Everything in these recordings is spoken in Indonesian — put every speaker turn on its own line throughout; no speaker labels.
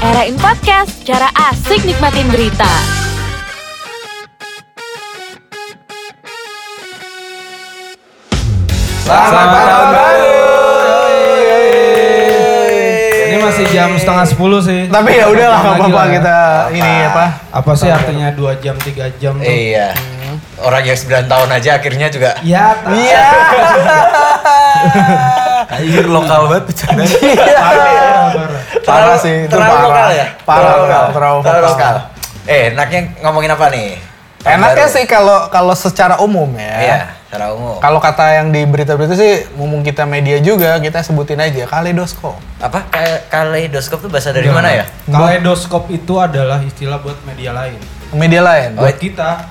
Marahin Podcast, cara asik nikmatin berita.
Selamat, tahun baru.
Ini masih jam setengah sepuluh sih.
Tapi ya udahlah
Kapan
nggak
lagi
apa-apa
lah.
kita ini apa?
Apa sih artinya dua jam tiga jam? tuh?
Iya. Orang yang 9 tahun aja akhirnya juga
Ya, tak-
Iya.
anjir lokal banget bercanda.
Iya. parah, parah.
Parah sih, itu
terlalu
parah.
lokal ya?
Parah
Terlalu
lokal,
lokal.
terlalu
Terlalu
fokus.
lokal. Eh, enaknya ngomongin apa nih? Tahun
Enaknya
baru.
sih kalau kalau secara umum ya.
Iya, secara umum.
Kalau kata yang di berita-berita sih, mumpung kita media juga, kita sebutin aja kaleidoskop.
Apa Ka- kaleidoskop tuh bahasa dari mana ya?
Kaleidoskop itu adalah istilah buat media lain.
Media lain.
Buat kita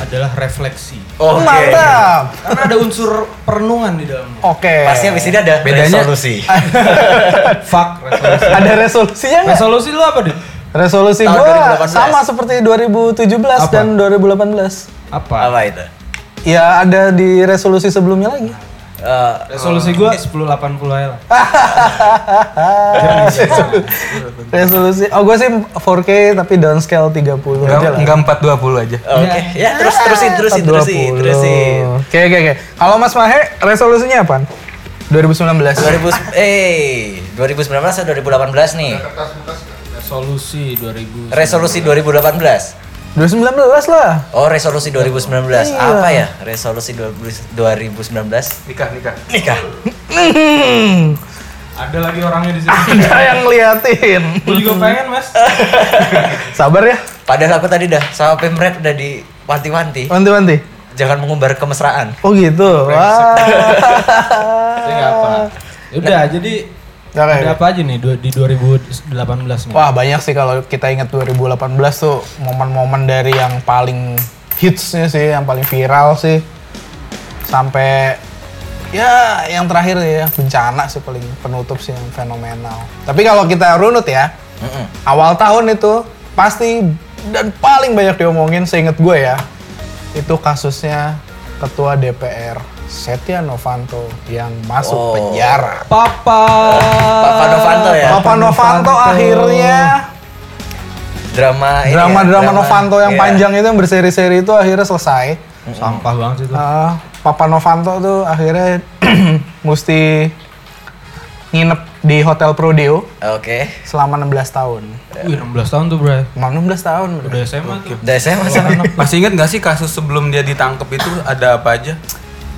adalah refleksi.
Oke.
Mantap.
Karena ada unsur perenungan di dalamnya.
Oke.
Pasti abis ini ada
Bedanya-
resolusi.
Fuck resolusi.
ada resolusinya nggak?
Resolusi lu apa, Dit?
Resolusi
Tahun
gua
2018.
sama seperti 2017
Apa?
dan 2018.
Apa?
apa itu?
Ya ada di resolusi sebelumnya lagi.
Eh,
Resolusi gua 1080 aja lah.
Ah. Resolusi, oh gue sih 4K tapi downscale 30 aja lah.
Enggak 420 aja.
Oke, ya terus terusin terusin terusin
420.
terusin.
Oke oke oke. Kalau Mas Mahe resolusinya apaan? 2019.
2000 eh 2019 atau 2018 nih?
Resolusi 2000.
Resolusi 2018.
2019 lah.
Oh, resolusi 2019. Apa ya? Resolusi 20- 2019
Nikah, nikah.
nikah.
Ada lagi orangnya di sini.
Ada yang ngeliatin.
Lu juga pengen, Mas?
Sabar ya.
Padahal aku tadi dah sama pemret udah diwanti-wanti.
Wanti-wanti.
Jangan mengumbar kemesraan.
Oh gitu. Wah.
Tapi nggak apa. Ya Udah, jadi
Nggak kayak
ada apa aja nih dua- di 2018 nih?
Wah banyak sih kalau kita ingat 2018 tuh momen-momen dari yang paling hitsnya sih, yang paling viral sih, sampai ya yang terakhir ya bencana sih paling penutup sih yang fenomenal. Tapi kalau kita runut ya,
Mm-mm.
awal tahun itu pasti dan paling banyak diomongin seinget gue ya, itu kasusnya ketua DPR Setia Novanto yang masuk
Oh.
penjara.
Papa.
Papa Novanto ya.
Papa Novanto
Novanto.
akhirnya
Drama ini ya,
drama-drama Novanto yang
iya.
panjang itu yang berseri-seri itu akhirnya selesai.
Sampah banget sih itu.
Ah, Papa Novanto tuh akhirnya mesti nginep di Hotel Prodeo
Oke.
selama 16 tahun.
Wih, 16 tahun tuh, Bray.
Emang 16 tahun.
Udah SMA tuh.
Udah saya masuk.
Masih ingat nggak sih kasus sebelum dia ditangkep itu ada apa aja?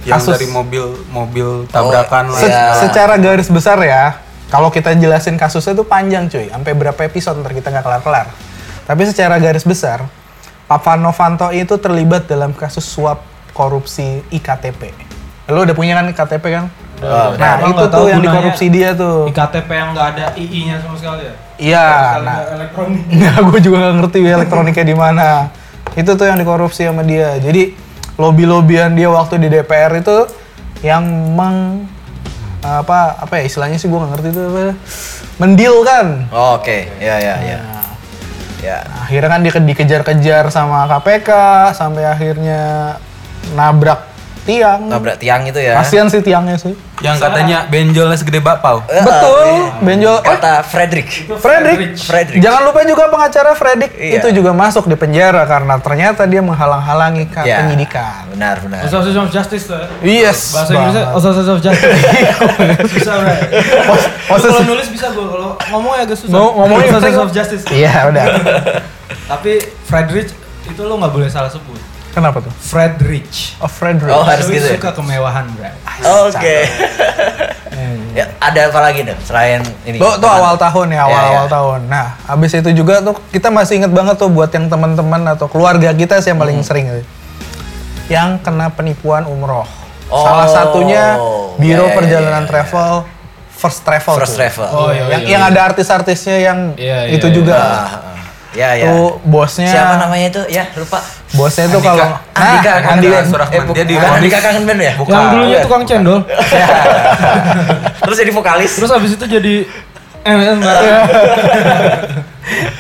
Yang
Kasus-
dari mobil mobil tabrakan
Oh,
lah. ya.
Se-
iya.
Secara garis besar ya, kalau kita jelasin kasusnya tuh panjang cuy, sampai berapa episode ntar kita nggak kelar-kelar. Tapi secara garis besar, Papa Novanto itu terlibat dalam kasus suap korupsi IKTP. Lo udah punya kan IKTP kan?
Oh,
Nah,
Emang
itu tuh
nggak tahu
yang
gunanya
dikorupsi dia tuh.
IKTP yang nggak ada II-nya sama sekali ya.
Iya,
Sekali
nah.
nggak elektronik.
Nggak, gue juga nggak ngerti ya elektroniknya di mana. Itu tuh yang dikorupsi sama dia. Jadi lobby-lobbyan dia waktu di DPR itu yang meng apa apa ya istilahnya sih gue nggak ngerti itu apa ya. mendilkan.
Oh, Oke, ya ya ya.
Nah,
Ya.
akhirnya kan dia dikejar-kejar sama KPK sampai akhirnya nabrak tiang.
Nabrak tiang itu ya.
Kasian sih tiangnya sih.
Yang katanya benjolnya segede bakpau.
Eh,
Betul, benjol. Eh,
Kata Frederick.
Frederick.
Ya. Frederick.
Jangan lupa juga pengacara Fredrik
Iya.
itu juga masuk di penjara karena ternyata dia menghalang-halangi ka-
Ya,
penyidikan.
Benar, benar.
Association of Justice tuh. ya.
Yes.
Bahasa Inggrisnya oh,
banget.
Association of Justice. bisa, Bray. Lu
Osses-
Kalau nulis bisa gue, kalau ngomongnya agak susah.
Ngom- ngomongnya
Association
penting.
of Justice.
Iya, udah.
Tapi Frederick itu lo nggak boleh salah sebut.
Kenapa tuh?
Frederick.
Oh, Frederick.
Oh, harus
Lu
gitu ya?
Suka kemewahan, Bray.
Oke. ya, ada apa lagi dong selain ini?
Tuh, tuh awal tahun ya, awal awal
Iya, iya.
tahun. Nah, abis itu juga tuh kita masih inget banget tuh buat yang teman-teman atau keluarga kita sih yang paling
Hmm.
sering gitu. Yang kena penipuan umroh.
Oh,
Salah satunya Biro
iya, iya,
Perjalanan
iya, iya.
Travel First Travel.
First
tuh.
Travel.
Oh, iya,
yang,
iya,
yang ada artis-artisnya yang
Iya, iya,
itu
iya.
juga.
Ah, ya ya.
Tuh bosnya
Siapa namanya itu? Ya, lupa.
Bosnya tuh kalau
Andika
Nah,
Kangen
Andi-
Band.
Surahman.
bu-
Dia di
bukan
Ronis.
Andika Kangen Band ya?
Bukan. Iya.
Yang dulunya
bukan.
tukang cendol.
Terus jadi vokalis.
Terus abis itu jadi MSN bareng.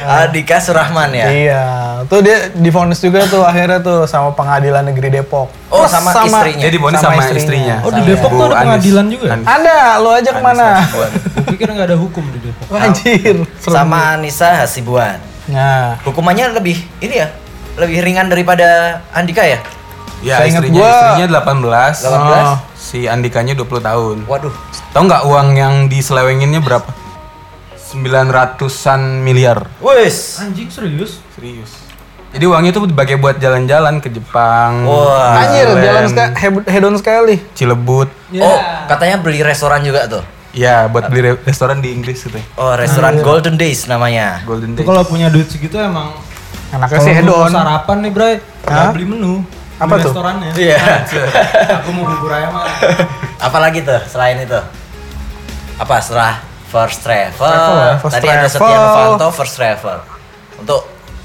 Andika Eh, Surahman ya.
Iya, tuh dia difonis juga tuh akhirnya tuh sama Pengadilan Negeri Depok.
Oh,
Terus
sama
iya.
istrinya.
Jadi bonis sama, istrinya.
Oh, di Depok
Bu
tuh ada
Anies.
Ah,
pengadilan juga ya?
Anies.
Ada, lo ajak mana?
Anies Baswedan.
pikir nggak ada hukum di Depok.
Anjir. serem.
sama Anissa Hasibuan.
Nah,
Hukumannya lebih ini ya, lebih ringan daripada Andika ya.
Ya,
Saya ingat
istrinya,
gua-
istrinya 18,
18.
Oh, si Andikanya 20 tahun.
Waduh,
Tahu nggak uang yang diselewenginnya berapa? 900-an miliar.
wes.
Anjing serius?
Serius. Jadi uangnya itu dipakai buat jalan-jalan ke Jepang.
Wah.
anjir
Thailand,
jalan seka- heb- hedon sekali.
Cilebut.
Oh,
Iya.
katanya beli restoran juga tuh.
Ya, buat beli re- restoran di Inggris gitu. ya.
Oh, restoran
Iya.
Golden Days namanya.
Golden
Itu
Days.
kalau punya duit segitu emang
Enaknya
kalau
sih
lu mau
hedon.
sarapan nih, Bray.
Hah?
Ya beli menu.
Apa
Beli
tuh?
Restorannya.
Iya.
Aku mau bubur ayam ah.
Apalagi tuh selain itu? Apa setelah first travel?
Travel ya, first
Tadi ada
travel.
Setia Novanto first travel. Untuk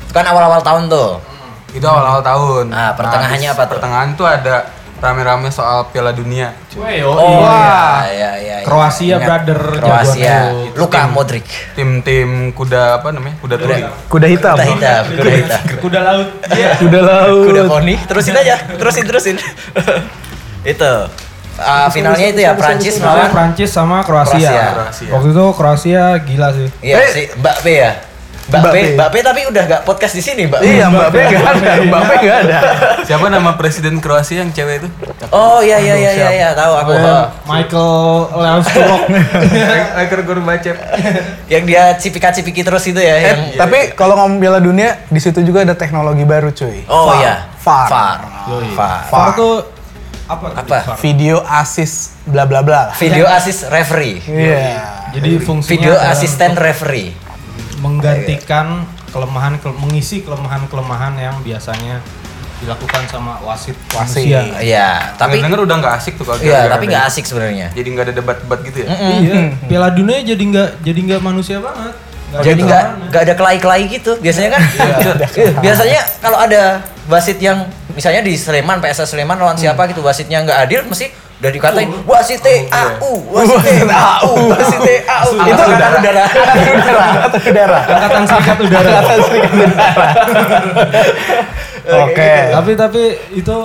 itu kan awal-awal tahun tuh.
Itu awal-awal tahun.
Nah, pertengahannya
habis
apa tuh?
Pertengahan tuh ada rame-rame soal Piala Dunia.
oh,
Oh,
Wah.
iya, iya, iya.
Kroasia,
Ingat.
brother.
Kroasia.
Jagoan lu.
Luka Modric.
Tim-tim kuda apa namanya? Kuda tuli.
Kuda hitam.
Kuda hitam, kuda hitam.
Kuda laut. Iya.
Kuda
Kuda
laut.
poni. Terusin aja, terusin, terusin. itu. Ah, finalnya itu ya Prancis
Lawan
melawan
Prancis sama Kroasia.
Kroasia.
Kroasia.
Waktu itu Kroasia gila sih.
Iya,
Eh.
si Mbak P ya. Mbak,
Mbak
P,
P.
Mbak P tapi udah gak podcast di sini, Mbak. P.
Iya, Mbak Pe enggak ada, Mbak Pe enggak ada.
Siapa nama presiden Kroasia yang cewek itu?
Oh iya iya iya iya iya, tahu aku.
Eh, Michael Leonstrok.
Agar Gorbachev.
yang dia cipika-cipiki terus itu ya
Eh,
yang
tapi kalau ngomong Piala Dunia, di situ juga ada teknologi baru, cuy.
Oh
VAR.
iya.
VAR.
Far. Far.
VAR tuh apa? tuh?
Apa?
VAR.
Video assist bla bla bla.
Video assist referee.
Iya.
Jadi fungsinya
Video
adalah
asisten referee.
menggantikan kelemahan kele- mengisi kelemahan-kelemahan yang biasanya dilakukan sama wasit
Wasit.
manusia.
Iya,
Tapi
tapi
denger udah nggak asik Iya. tuh kalau
iya,
gara-gara
tapi nggak
ada-
asik sebenarnya.
Jadi nggak ada debat-debat gitu ya.
Iya, Piala Dunia jadi nggak jadi nggak manusia banget. Nggak gitu.
Jadi
ada
nggak
warna.
nggak ada kelai-kelai gitu. Biasanya kan Iya, biasanya kalau ada wasit yang misalnya di Sleman PSS Sleman lawan siapa gitu wasitnya nggak adil mesti udah dikatain wasit TAU, wasit TAU, wasit TAU. Itu
Angkat
kan
udara.
udara.
Udara, atau udara.
angkatan serikat udara.
Oke.
tapi tapi itu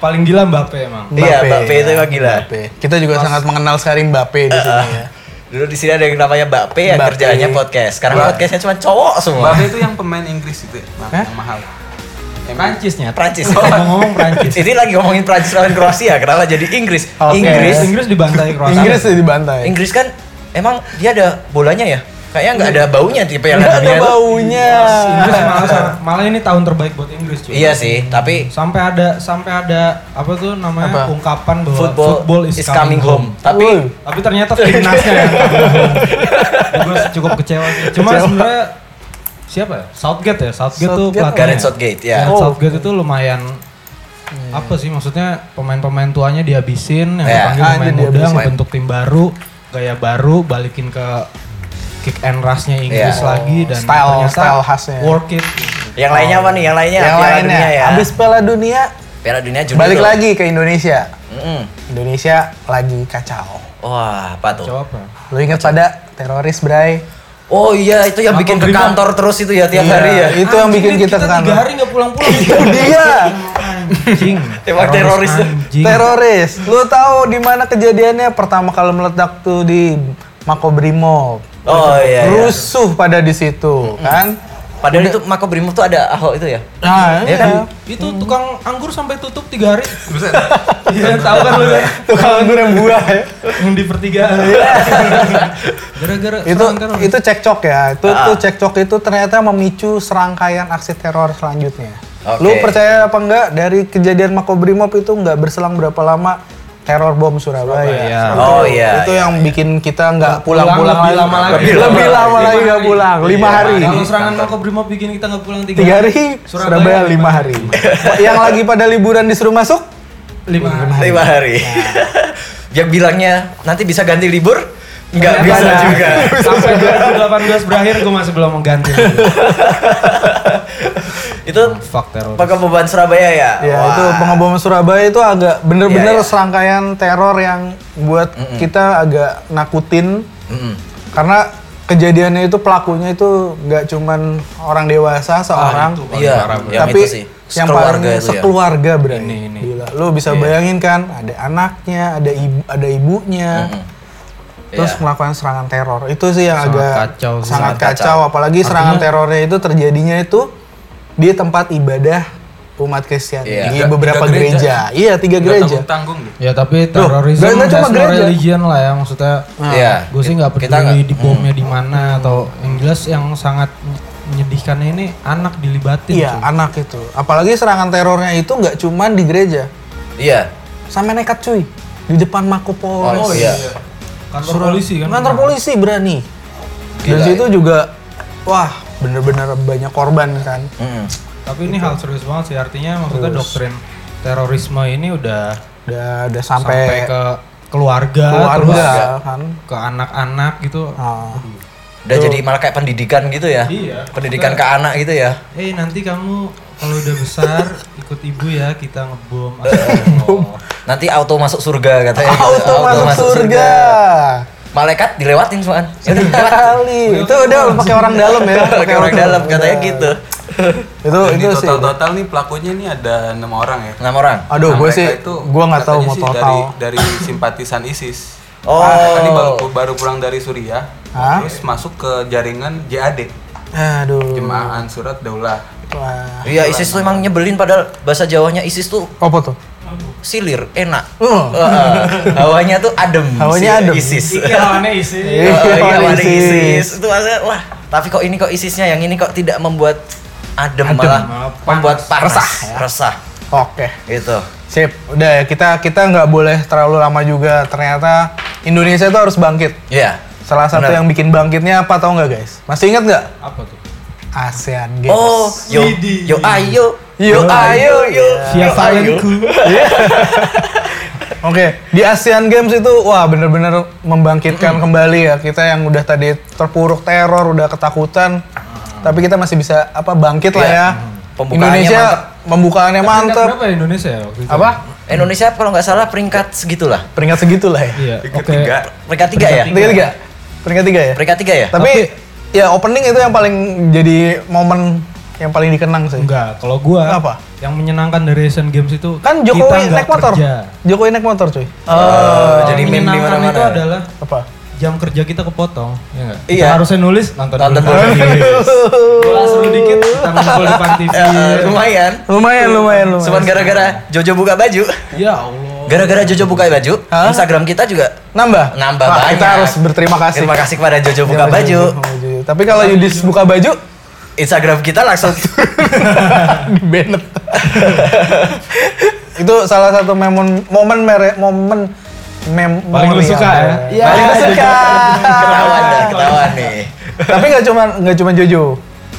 paling gila Mbappe emang.
Iya, Mbappe itu emang gila. Ah,
Mbappe. Kita juga sangat mengenal sekali Mbappe di sini ya.
Dulu di sini ada yang namanya Mbak P yang
Mbak P.
kerjaannya podcast. Sekarang
Mbak-
podcastnya cuma cowok semua.
Mbappe itu yang pemain Inggris itu ya, ma-
Hah?
yang mahal.
Prancisnya.
Prancis.
Ngomong-ngomong Prancis.
Ini lagi ngomongin Prancis lawan Kroasia, kenapa jadi Inggris?
Oke.
Inggris,
Inggris dibantai Kroasia.
Inggris sih dibantai.
Inggris kan emang dia ada bolanya ya? Kayaknya nggak ada baunya tipe yang
Nggak
ada
ada
dunia tuh.
baunya.
Inggris malah sa- malah ini tahun terbaik buat Inggris cuy.
Iya sih, tapi
Sampai ada sampai ada apa tuh namanya
Apa?
ungkapan bahwa
football, is, coming home. Tapi
Wuh.
Tapi ternyata timnasnya yang coming home. Gue cukup kecewa sih. Cuma
Kecewa.
sebenarnya siapa ya? Southgate ya? Southgate, tuh
Southgate.
pelatihnya.
Gareth Southgate ya.
Gareth
Oh.
Southgate itu lumayan apa sih maksudnya pemain-pemain tuanya dihabisin
Iya.
yang
Ya,
dipanggil
anjir,
pemain muda
dihabisin.
ngebentuk tim baru gaya baru balikin ke kick and rushnya
Iya.
Inggris
Ya.
lagi dan
Style-
ternyata
style khasnya.
work it
Yang lainnya apa nih? Yang lainnya
yang
Piala
lainnya,
Dunia ya.
abis Piala Dunia,
Piala Dunia juga.
balik lagi ke Indonesia.
Mm-mm.
Indonesia lagi kacau.
Wah, apa tuh?
jawab apa?
Lu inget pada teroris, Bray?
Oh iya, itu yang bikin ke
Brimob.
kantor terus itu ya tiap
Iya,
hari ya.
Itu yang bikin
Anjing,
kita Iya. ke
tiga
kantor.
hari nggak pulang-pulang.
Itu dia.
Anjing.
Emang teroris tuh.
anjing.
Teroris. Lu tahu di mana kejadiannya pertama kali meledak tuh di Makobrimob.
Oh iya. iya.
Rusuh pada di situ, kan?
Padahal itu Mako Brimob tuh ada Ahok itu ya.
Nah,
Iya kan?
Itu tukang anggur sampai tutup tiga hari.
Terus ada
Iya, tahu kan lu kan?
Tukang anggur yang buah ya.
Yang di pertigaan. Gara-gara
Iya. itu
serangan kan teroris.
itu cekcok ya itu
Ah.
tuh cekcok itu ternyata memicu serangkaian aksi teror selanjutnya
Oke.
lu percaya apa enggak dari kejadian Makobrimob itu nggak berselang berapa lama teror bom Surabaya,
Surabaya.
Itu-
Oh, iya,
itu
iya,
yang bikin kita nggak
Pulang
pulang-pulang
lebih
lagi.
lama lagi.
lebih,
Lebih
lama
lama Iya.
lagi nggak pulang lima hari
Kalau serangan Makobrimob bikin kita nggak pulang tiga,
tiga hari Surabaya lima hari yang lagi pada liburan disuruh masuk
Lima hari.
lima hari. yang bilangnya nanti bisa ganti libur,
Ternyata
nggak bisa
nggak.
juga.
Sampai 2018 berakhir gue masih belum mengganti.
itu
Fuck teror.
pengembangan Surabaya ya.
Ya
Wah.
itu pengeboman Surabaya itu agak bener-bener
Iya, iya.
serangkaian teror yang buat kita agak nakutin
Mm-mm.
karena kejadiannya itu pelakunya itu nggak cuman orang dewasa seorang
itu.
Iya,
parah,
yang
tapi
itu sih.
yang
Sekeluarga
paling
itu ya.
sekeluarga berani.
Ini, ini.
Gila, lu bisa bayangin kan ada anaknya, ada ibu, ada ibunya. terus
Iya.
melakukan serangan teror itu sih yang
Sangat
agak
kacau sih.
sangat
Sangat
kacau
kacau.
apalagi serangan terornya itu terjadinya itu di tempat ibadah umat Kristen
Iya.
di
Tiga-
beberapa
tiga
gereja.
gereja.
iya tiga
Nggak
gereja
tanggung-tanggung deh.
Ya tapi terorisme
nggak cuma
that's no
gereja. Nah,
religion lah ya maksudnya.
Iya.
Gue sih nggak
Kita nggak-
peduli di bomnya
Hmm.
di mana atau yang jelas yang sangat menyedihkannya ini anak dilibatin.
iya
cuy.
anak itu apalagi serangan terornya itu nggak cuma di gereja
Iya.
sampai nekat cuy di depan Mako Polo
Oh, iya.
kantor
Surat-
polisi kan.
kantor polisi berani dan
Gila,
situ juga wah bener-bener banyak korban kan
Mm-mm.
Tapi ini hal serius banget sih artinya maksudnya doktrin terorisme ini udah
udah udah sampai,
sampai, ke keluarga,
keluarga
terus
kan
ke anak-anak gitu.
Ah.
Udah jadi malah kayak pendidikan gitu ya.
Iya.
Pendidikan ke anak gitu ya.
Eh nanti kamu kalau udah besar ikut ibu ya kita ngebom.
Nanti auto masuk surga katanya.
auto masuk surga
Malaikat dilewatin cuman. Ya udah lewat.
kali itu udah pakai orang dalam ya
Pakai orang dalam katanya
Iya.
gitu.
itu
Dan
Oh, itu
di
sih
total total nih pelakunya ini ada enam orang ya.
Enam orang.
aduh
Nah,
gue
mereka
sih
itu
gue nggak tahu
katanya
mau
sih
total
dari, dari simpatisan ISIS.
Oh.
Tadi baru, baru pulang dari Suriah,
Hah?
terus masuk ke jaringan JAD,
aduh
Jemaah Ansurat Daulah.
Wah.
Iya, ISIS tuh emang nyebelin padahal bahasa Jawanya ISIS tuh
apa tuh
silir, enak.
Oh.
Heeh. hawanya tuh adem.
Hawanya
si
adem.
ISIS.
Iya lawannya isi.
Iya, hawanya
Isis.
ISIS. Itu maksudnya wah, tapi kok ini kok ISISnya yang ini kok tidak membuat adem, malah
malah
membuat panas,
Oh, Resah,
resah,
ya.
resah.
oke
Gitu.
sip udah ya kita kita nggak boleh terlalu lama juga ternyata Indonesia itu harus bangkit
Iya.
Salah satu
Benar.
yang bikin bangkitnya apa tau nggak guys? Masih ingat nggak?
Apa tuh?
ASEAN Games.
Oh, yo,
Widih.
yo ayo,
Yo, ayo, Ya. Iya.
yo.
Via Valenku.
Oke, di ASEAN Games itu wah bener-bener membangkitkan kembali ya kita yang udah tadi terpuruk teror, udah ketakutan, tapi kita masih bisa apa bangkit lah
Ah. Iya.
ya.
Pembukaannya
Indonesia pembukaannya mantep.
Berapa Indonesia ya waktu itu?
Apa?
Indonesia kalau nggak salah peringkat segitulah.
Peringkat segitulah ya.
Iya.
Di
Oke.
Ketiga,
Peringkat tiga ya?
Iya. Peringkat tiga. Peringkat tiga ya.
Peringkat tiga ya?
Tapi, ya opening itu yang paling jadi momen yang paling dikenang sih.
Enggak, kalau gua
Apa?
yang menyenangkan dari Asian Games itu
Kan
kita
Jokowi
nggak
naik motor.
kerja.
Jokowi naik motor cuy.
Oh, jadi
Yang
meme di
menyenangkan
mana-mana. ya?
itu adalah
Apa?
jam kerja kita kepotong, ya nggak?
Iya.
Kita harusnya nulis nonton
Nonton
Bola seru dikit kita ngumpul di panti.
Ya, lumayan.
Iya. Lumayan, lumayan, lumayan.
Cuman gara-gara Jojo buka baju.
Ya Allah.
Gara-gara Jojo buka baju,
Hah?
Instagram kita juga
nambah
nambah
Wah,
banyak.
kita harus berterima kasih
Terima kasih kepada Jojo
Terima
buka
kasih,
baju.
buka baju. tapi kalau Yudis buka baju
Instagram kita langsung
benet itu salah satu momen momen mere- momen mem
Paling lu
memorial.
suka ya?
Iya,
Paling lu
suka.
gitu. ketahuan dah, ketahuan nih.
tapi nggak cuma nggak cuma Jojo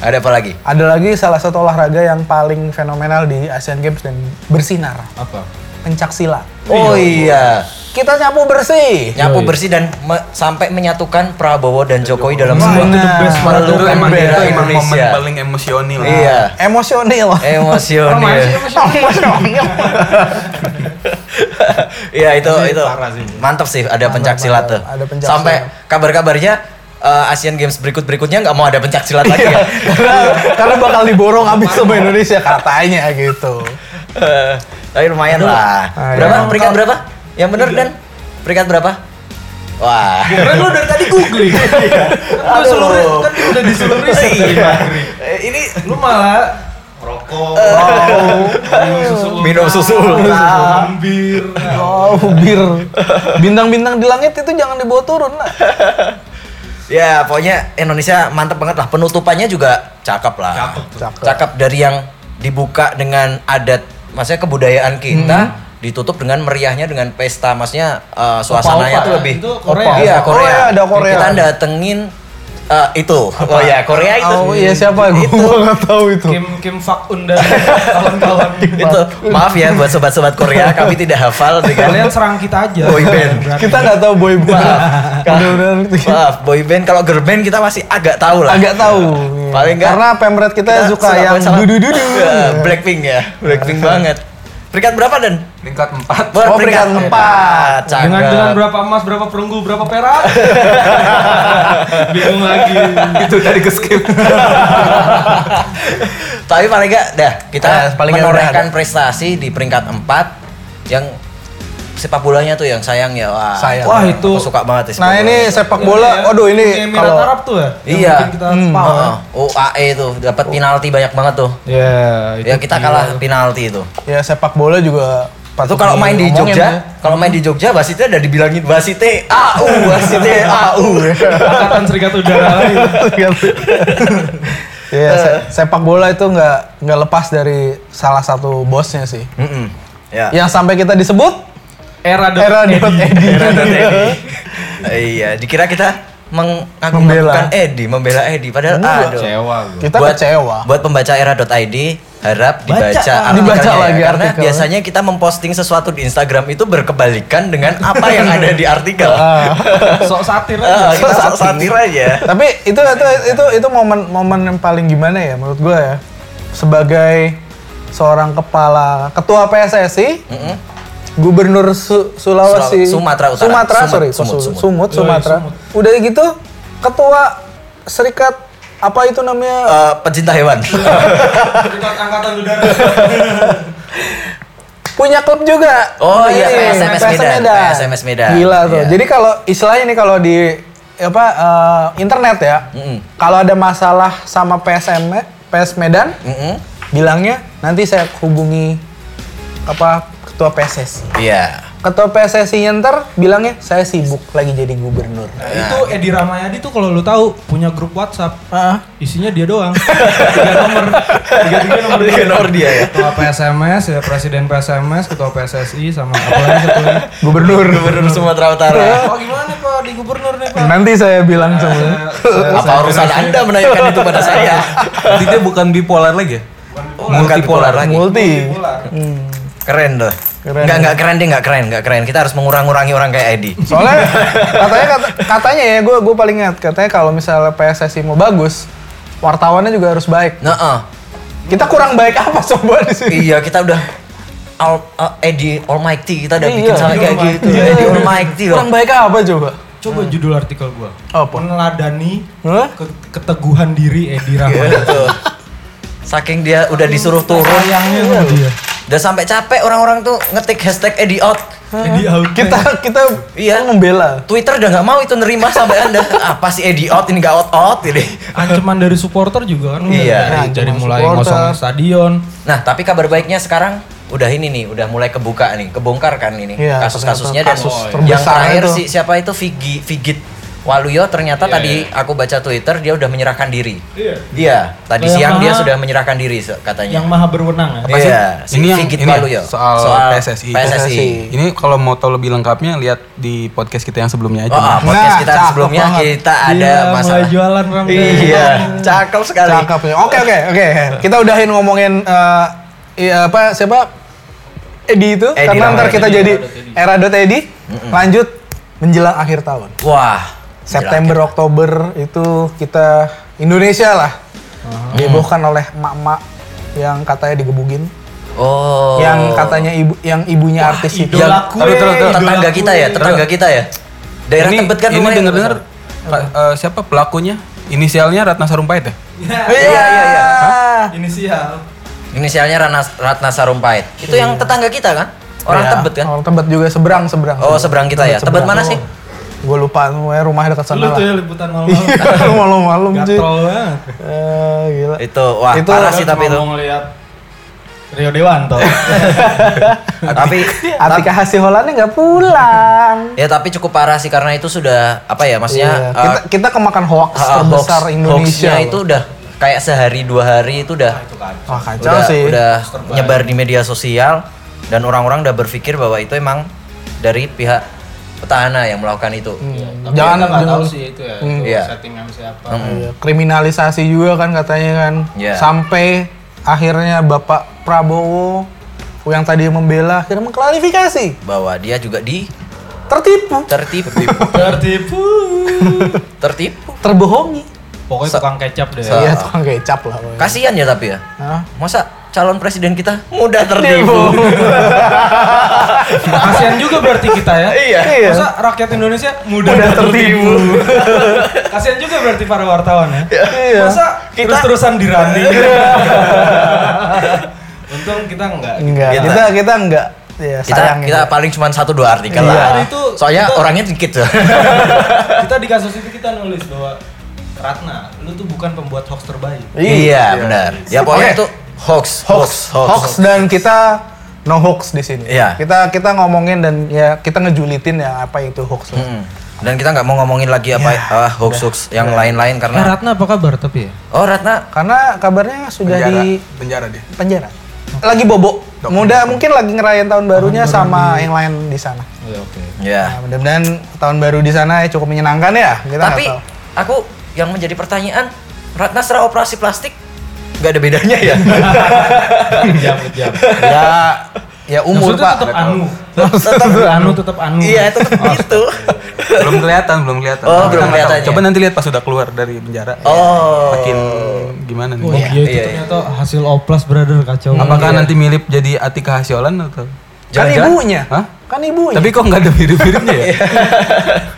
Ada apa lagi?
ada lagi salah satu olahraga yang paling fenomenal di Asian Games dan bersinar
Apa?
pencak silat
Oh iya,
kita nyapu bersih
nyapu bersih dan me- sampai menyatukan Prabowo dan Jokowi dalam sebuah
Itu the best
Nah,
banget.
itu
Menentukan
emang
bendera
itu emang momen
Indonesia.
paling emosional.
Iya,
Ya.
emosional
Eh.
emosional. Iya itu itu
parah sih.
mantap sih ada pencak silat tuh.
mantap. Ada pencak
Sampai
silat.
kabar-kabarnya eh, Asian Games berikut berikutnya nggak mau ada pencak silat lagi
Iya.
ya.
karena, karena bakal diborong habis sama Indonesia katanya gitu.
Eh, Tapi lumayan lah.
Ah, iya.
Berapa peringkat berapa? Yang bener dan peringkat berapa? Wah.
Kan lu dari tadi googling.
Iya.
Kan
Aduh.
lu seluruh kan lu udah disuruh riset dari
Iya.
Bakri.
Eh, Ini
Lu malah rokok, minum susu,
minum susu. ulang.
bir.
Oh, bir. Bintang-bintang di langit itu jangan dibawa turun lah.
Ya, pokoknya Indonesia mantep banget lah. Penutupannya juga cakep lah.
Cakep
Cakep,
tuh.
Cakep.
dari yang dibuka dengan adat, maksudnya kebudayaan kita,
Hmm.
ditutup dengan meriahnya dengan pesta, maksudnya uh, suasananya
Opa-opa
tuh
ya?
lebih.
Itu Korea.
Iya,
Opa.
Korea.
Oh, iya, ada Korea.
Kita datengin uh, itu. Oh ya, Korea itu.
Oh iya siapa? Gue nggak tahu itu.
Kim Kim Fak Un dan kawan-kawan.
itu maaf ya buat sobat-sobat Korea kami tidak hafal
Kalian
dengan
serang kita aja.
Boy band.
Berarti. ya.
Kita nggak tahu boy band. Bener-bener
maaf boyband kalau girl band kita masih agak tahu lah
agak tahu.
Paling nggak-
karena pemret kita, suka Iya. yang
suka sama-
dudu-dudu.
Ya, Blackpink ya Blackpink banget peringkat berapa dan
Peringkat empat.
Wah,
Oh, peringkat empat.
cakep.
Dengan dengan berapa emas, berapa perunggu, berapa perak? Bingung lagi.
itu tadi ke skip.
Tapi paling enggak dah kita
Ah, paling nggak
menorehkan prestasi di peringkat 4 yang sepak bolanya tuh yang sayang ya. Wah,
Sayang.
Wah, itu-
Aku suka banget ya
Nah ini sepak
Iya,
bola, aduh ini
kalau
kalau
Arab tuh ya. yang
Iya.
bikin kita paham.
Heeh. UAE tuh dapat penalti banyak banget tuh.
Ya, itu
Ya kita
gila
kalah
tuh.
penalti itu.
ya sepak bola juga
Itu
patut
kalau main di
diomongin ya.
Jogja, kalau main di Jogja wasitnya udah dibilangin wasite AU, wasite AU.
Angkatan Serikat Udara lagi.
ya. Iya, se- sepak bola itu nggak nggak lepas dari salah satu bosnya sih.
Mm-mm. Ya.
Yang sampai kita disebut
Era dot
Era
Eddy.
dot Eddy.
Era dot
Ya.
Eddy. Iya, dikira kita mengagungkan
Membela.
Edi, membela Edi padahal aduh.
Kecewa gue.
kita kecewa.
Buat pembaca era.id harap dibaca
Baca,
artikelnya
dibaca
ya,
lagi
karena
artikel.
biasanya kita memposting sesuatu di Instagram itu berkebalikan dengan apa yang ada di artikel.
Ah.
Sok satir
Ah,
aja.
kita eh,
Sok
sok satir aja.
Tapi itu itu itu itu momen momen yang paling gimana ya menurut gue ya sebagai seorang kepala ketua PSSI, gubernur Su- Sulawesi,
Sulaw- Sumatera Utara.
Sumatera,
Sumut,
sorry,
Sumut,
Sumut,
Sumut.
Sumut,
Yoi,
Sumatera.
Sumut.
Udah gitu ketua serikat apa itu namanya?
Eh, pecinta hewan.
Serikat Angkatan Udara.
punya klub juga.
Oh
Ini,
iya, PSMS Medan. PSMS Medan.
Gila tuh.
Iya.
Jadi kalau istilahnya nih kalau di apa eh, internet ya,
Mm-mm.
kalau ada masalah sama PSM PS Medan,
Mm-mm.
bilangnya nanti saya hubungi apa ketua PSSI.
Iya.
Ketua PSSI ntar bilangnya saya sibuk lagi jadi gubernur.
Itu Edi Ramayadi tuh kalau lu tahu punya grup WhatsApp.
Heeh.
Isinya dia doang. Tiga nomor. Tiga tiga nomor
Tiga nomor dia ya.
Ketua PSMS, ya Presiden PSMS, Ketua PSSI sama apa lagi satunya?
Gubernur.
Gubernur Sumatera Utara.
Oh gimana Pak di gubernur nih Pak?
Nanti saya bilang sama.
Apa urusan Anda menanyakan itu pada saya? Oh,
Jadi dia bukan bipolar lagi ya? Multipolar lagi.
Multi.
Keren tuh.
Keren.
Enggak enggak keren deh, enggak keren, enggak keren. Kita harus mengurang-urangi orang kayak Edi.
Soalnya katanya kata- katanya ya gue gue paling ingat katanya kalau misalnya PSSI mau bagus, wartawannya juga harus baik.
Nah, eh.
Kita kurang baik apa coba di sini?
iya kita udah all, eh, Edi Almighty kita udah
Iya.
bikin sampai kayak
Almighty.
gitu. Edi Almighty loh.
Kurang baik apa coba?
Coba judul artikel gua.
Apa?
Meneladani
Hah? Iya.
ke- keteguhan diri Edi Ramayadi.
Gitu. Saking dia udah disuruh turun,
Sayangnya sama
Iya.
dia.
udah sampai capek orang-orang tuh ngetik hashtag Edi out.
Edi out. ya.
Kita kita
Iya.
membela.
Twitter udah nggak mau itu nerima sampai anda apa sih Edi out ini nggak out out ini.
ancaman dari supporter juga kan
Iya,
dari, dari
ancaman
mulai
supporter.
ngosong stadion
Nah, tapi kabar baiknya sekarang udah ini nih, udah mulai kebuka nih, kebongkar kan ini
Iya,
kasus-kasusnya dan
ternyata kasus
yang
terbesar
terakhir
itu.
si siapa itu Vigi Vigit Waluyo ternyata tadi aku baca Twitter dia udah menyerahkan diri.
Iya.
Iya, tadi
Yang
siang dia
maha-
sudah menyerahkan diri se- katanya.
yang maha berwenang ya.
apa
Iya,
sih? Si
ini yang
Vigit
ini ya,
Waluyo.
soal, PSSI.
PSSI.
Ini kalau mau tahu lebih lengkapnya lihat di podcast kita yang sebelumnya
Oh,
aja.
ah, podcast
Nah,
kita
cakep
sebelumnya
banget.
kita ada
Iya,
masalah.
mulai jualan Ram. ya.
Iya, cakep sekali.
Cakep ya. Oke oke oke. Kita udahin ngomongin eh, iya, apa siapa Edi itu
Edi
karena
namanya,
ntar kita
Edi,
jadi era dot Edi. Lanjut menjelang akhir tahun.
Wah,
September Oktober itu kita Indonesia lah dihebohkan oleh emak-emak yang katanya digebugin,
Oh.
yang katanya ibu yang ibunya artis itu.
yang
Idola kue,
Aduh, terus, terus,
idola
tetangga kita ya,
kue.
tetangga kita ya. Daerah
ini
Tebet kan
ini
rumahnya.
dengar-dengar Ra- eh, siapa pelakunya? Inisialnya Ratna Sarumpait ya?
Iya, iya, iya.
inisial
Inisialnya Ratna, Ratna Sarumpait. Itu yang tetangga kita kan? Orang
Ya,
Tebet kan?
Orang Tebet juga seberang seberang.
Oh, seberang kita ya. Tebet mana sih?
Gue lupa, pokoknya rumahnya dekat
lu
sana
tuh ya
lah. Iya.
liputan malam-malam
Malam-malam cuy.
gatrol banget
Eh, gila.
Itu wah
Itu
parah
orang
sih tapi itu.
mau ngeliat Rio Dewanto
Tapi
Atika Hasiholannya nggak pulang.
ya tapi cukup parah sih karena itu sudah apa ya maksudnya
Iya. kita,
eh,
kita kemakan hoax
eh, hoax-
terbesar Indonesia.
hoaxnya
loh.
itu udah kayak sehari dua hari Nah, itu udah
Wah kacau
udah,
sih.
udah nyebar di media sosial dan orang-orang udah berpikir bahwa itu emang dari pihak petahana yang melakukan itu.
Jangan
nggak tahu
jangan-
sih itu ya
Hmm.
itu
Iya.
settingan siapa
Iya, kriminalisasi juga kan katanya kan
Iya.
sampai akhirnya Bapak Prabowo yang tadi membela akhirnya mengklarifikasi
Bahwa dia juga di
tertipu
tertipu,
tertipu
tertipu.
terbohongi
pokoknya tukang kecap deh
iya
Se- Ah.
tukang kecap lah pokoknya.
Kasihan ya tapi ya.
Hah?
Masa calon presiden kita mudah tertipu?
Tertipu.
kasihan juga berarti kita ya
Iya.
Iya.
masa rakyat Indonesia mudah,
Mudah
tertipu kasihan juga berarti para wartawan ya
Iya.
masa
Kita-
terus-terusan dirani untung kita enggak
enggak
Kita-
kita kita enggak Iya,
Kita,
sayang
kita
gitu.
paling cuma satu dua artikel
Iya.
lah.
Itu
Soalnya
kita-
orangnya dikit tuh.
kita di kasus itu kita nulis bahwa Ratna, lu tuh bukan pembuat hoax terbaik.
iya, benar. Ya pokoknya
Oke.
itu hoax, hoax,
hoax, hoax, dan kita no hoax di sini.
Iya.
Kita kita ngomongin dan ya kita ngejulitin ya apa itu hoax. lah.
Mm-mm. Hmm. Dan kita nggak mau ngomongin lagi apa
Ya,
ah, hoax-hoax yang lain-lain karena
Ratna apa kabar tapi ya?
Oh Ratna
Karena kabarnya sudah
penjara,
di
penjara dia.
penjara. Lagi bobo. Muda mungkin lagi ngerayain tahun barunya sama yang lain di sana.
Iya, oke.
ya.
Nah, mudah-mudahan tahun baru di sana ya cukup menyenangkan ya. Kita nggak
Tapi
tahu.
aku yang menjadi pertanyaan Ratna setelah operasi plastik nggak ada bedanya ya?
Jam, jam.
ya ya umur
Maksudnya
Pak.
tetap anu.
Tetap
anu, tetap anu.
Iya tetap gitu.
belum kelihatan, belum kelihatan.
Oh,
Kita
belum
nggak tahu.
kelihatan ya.
Coba nanti lihat pas sudah keluar dari penjara. ya,
Oh.
Makin gimana nih?
Oh iya, itu
Iya, iya.
ternyata hasil oplas brother kacau.
Apakah nanti mirip jadi Atika Hasyolan
Kan
atau?
Jangan-jangan-
ibunya.
Hah?
Kan
Oh,
ibunya.
iya.
Tapi kok nggak ada mirip-miripnya ya?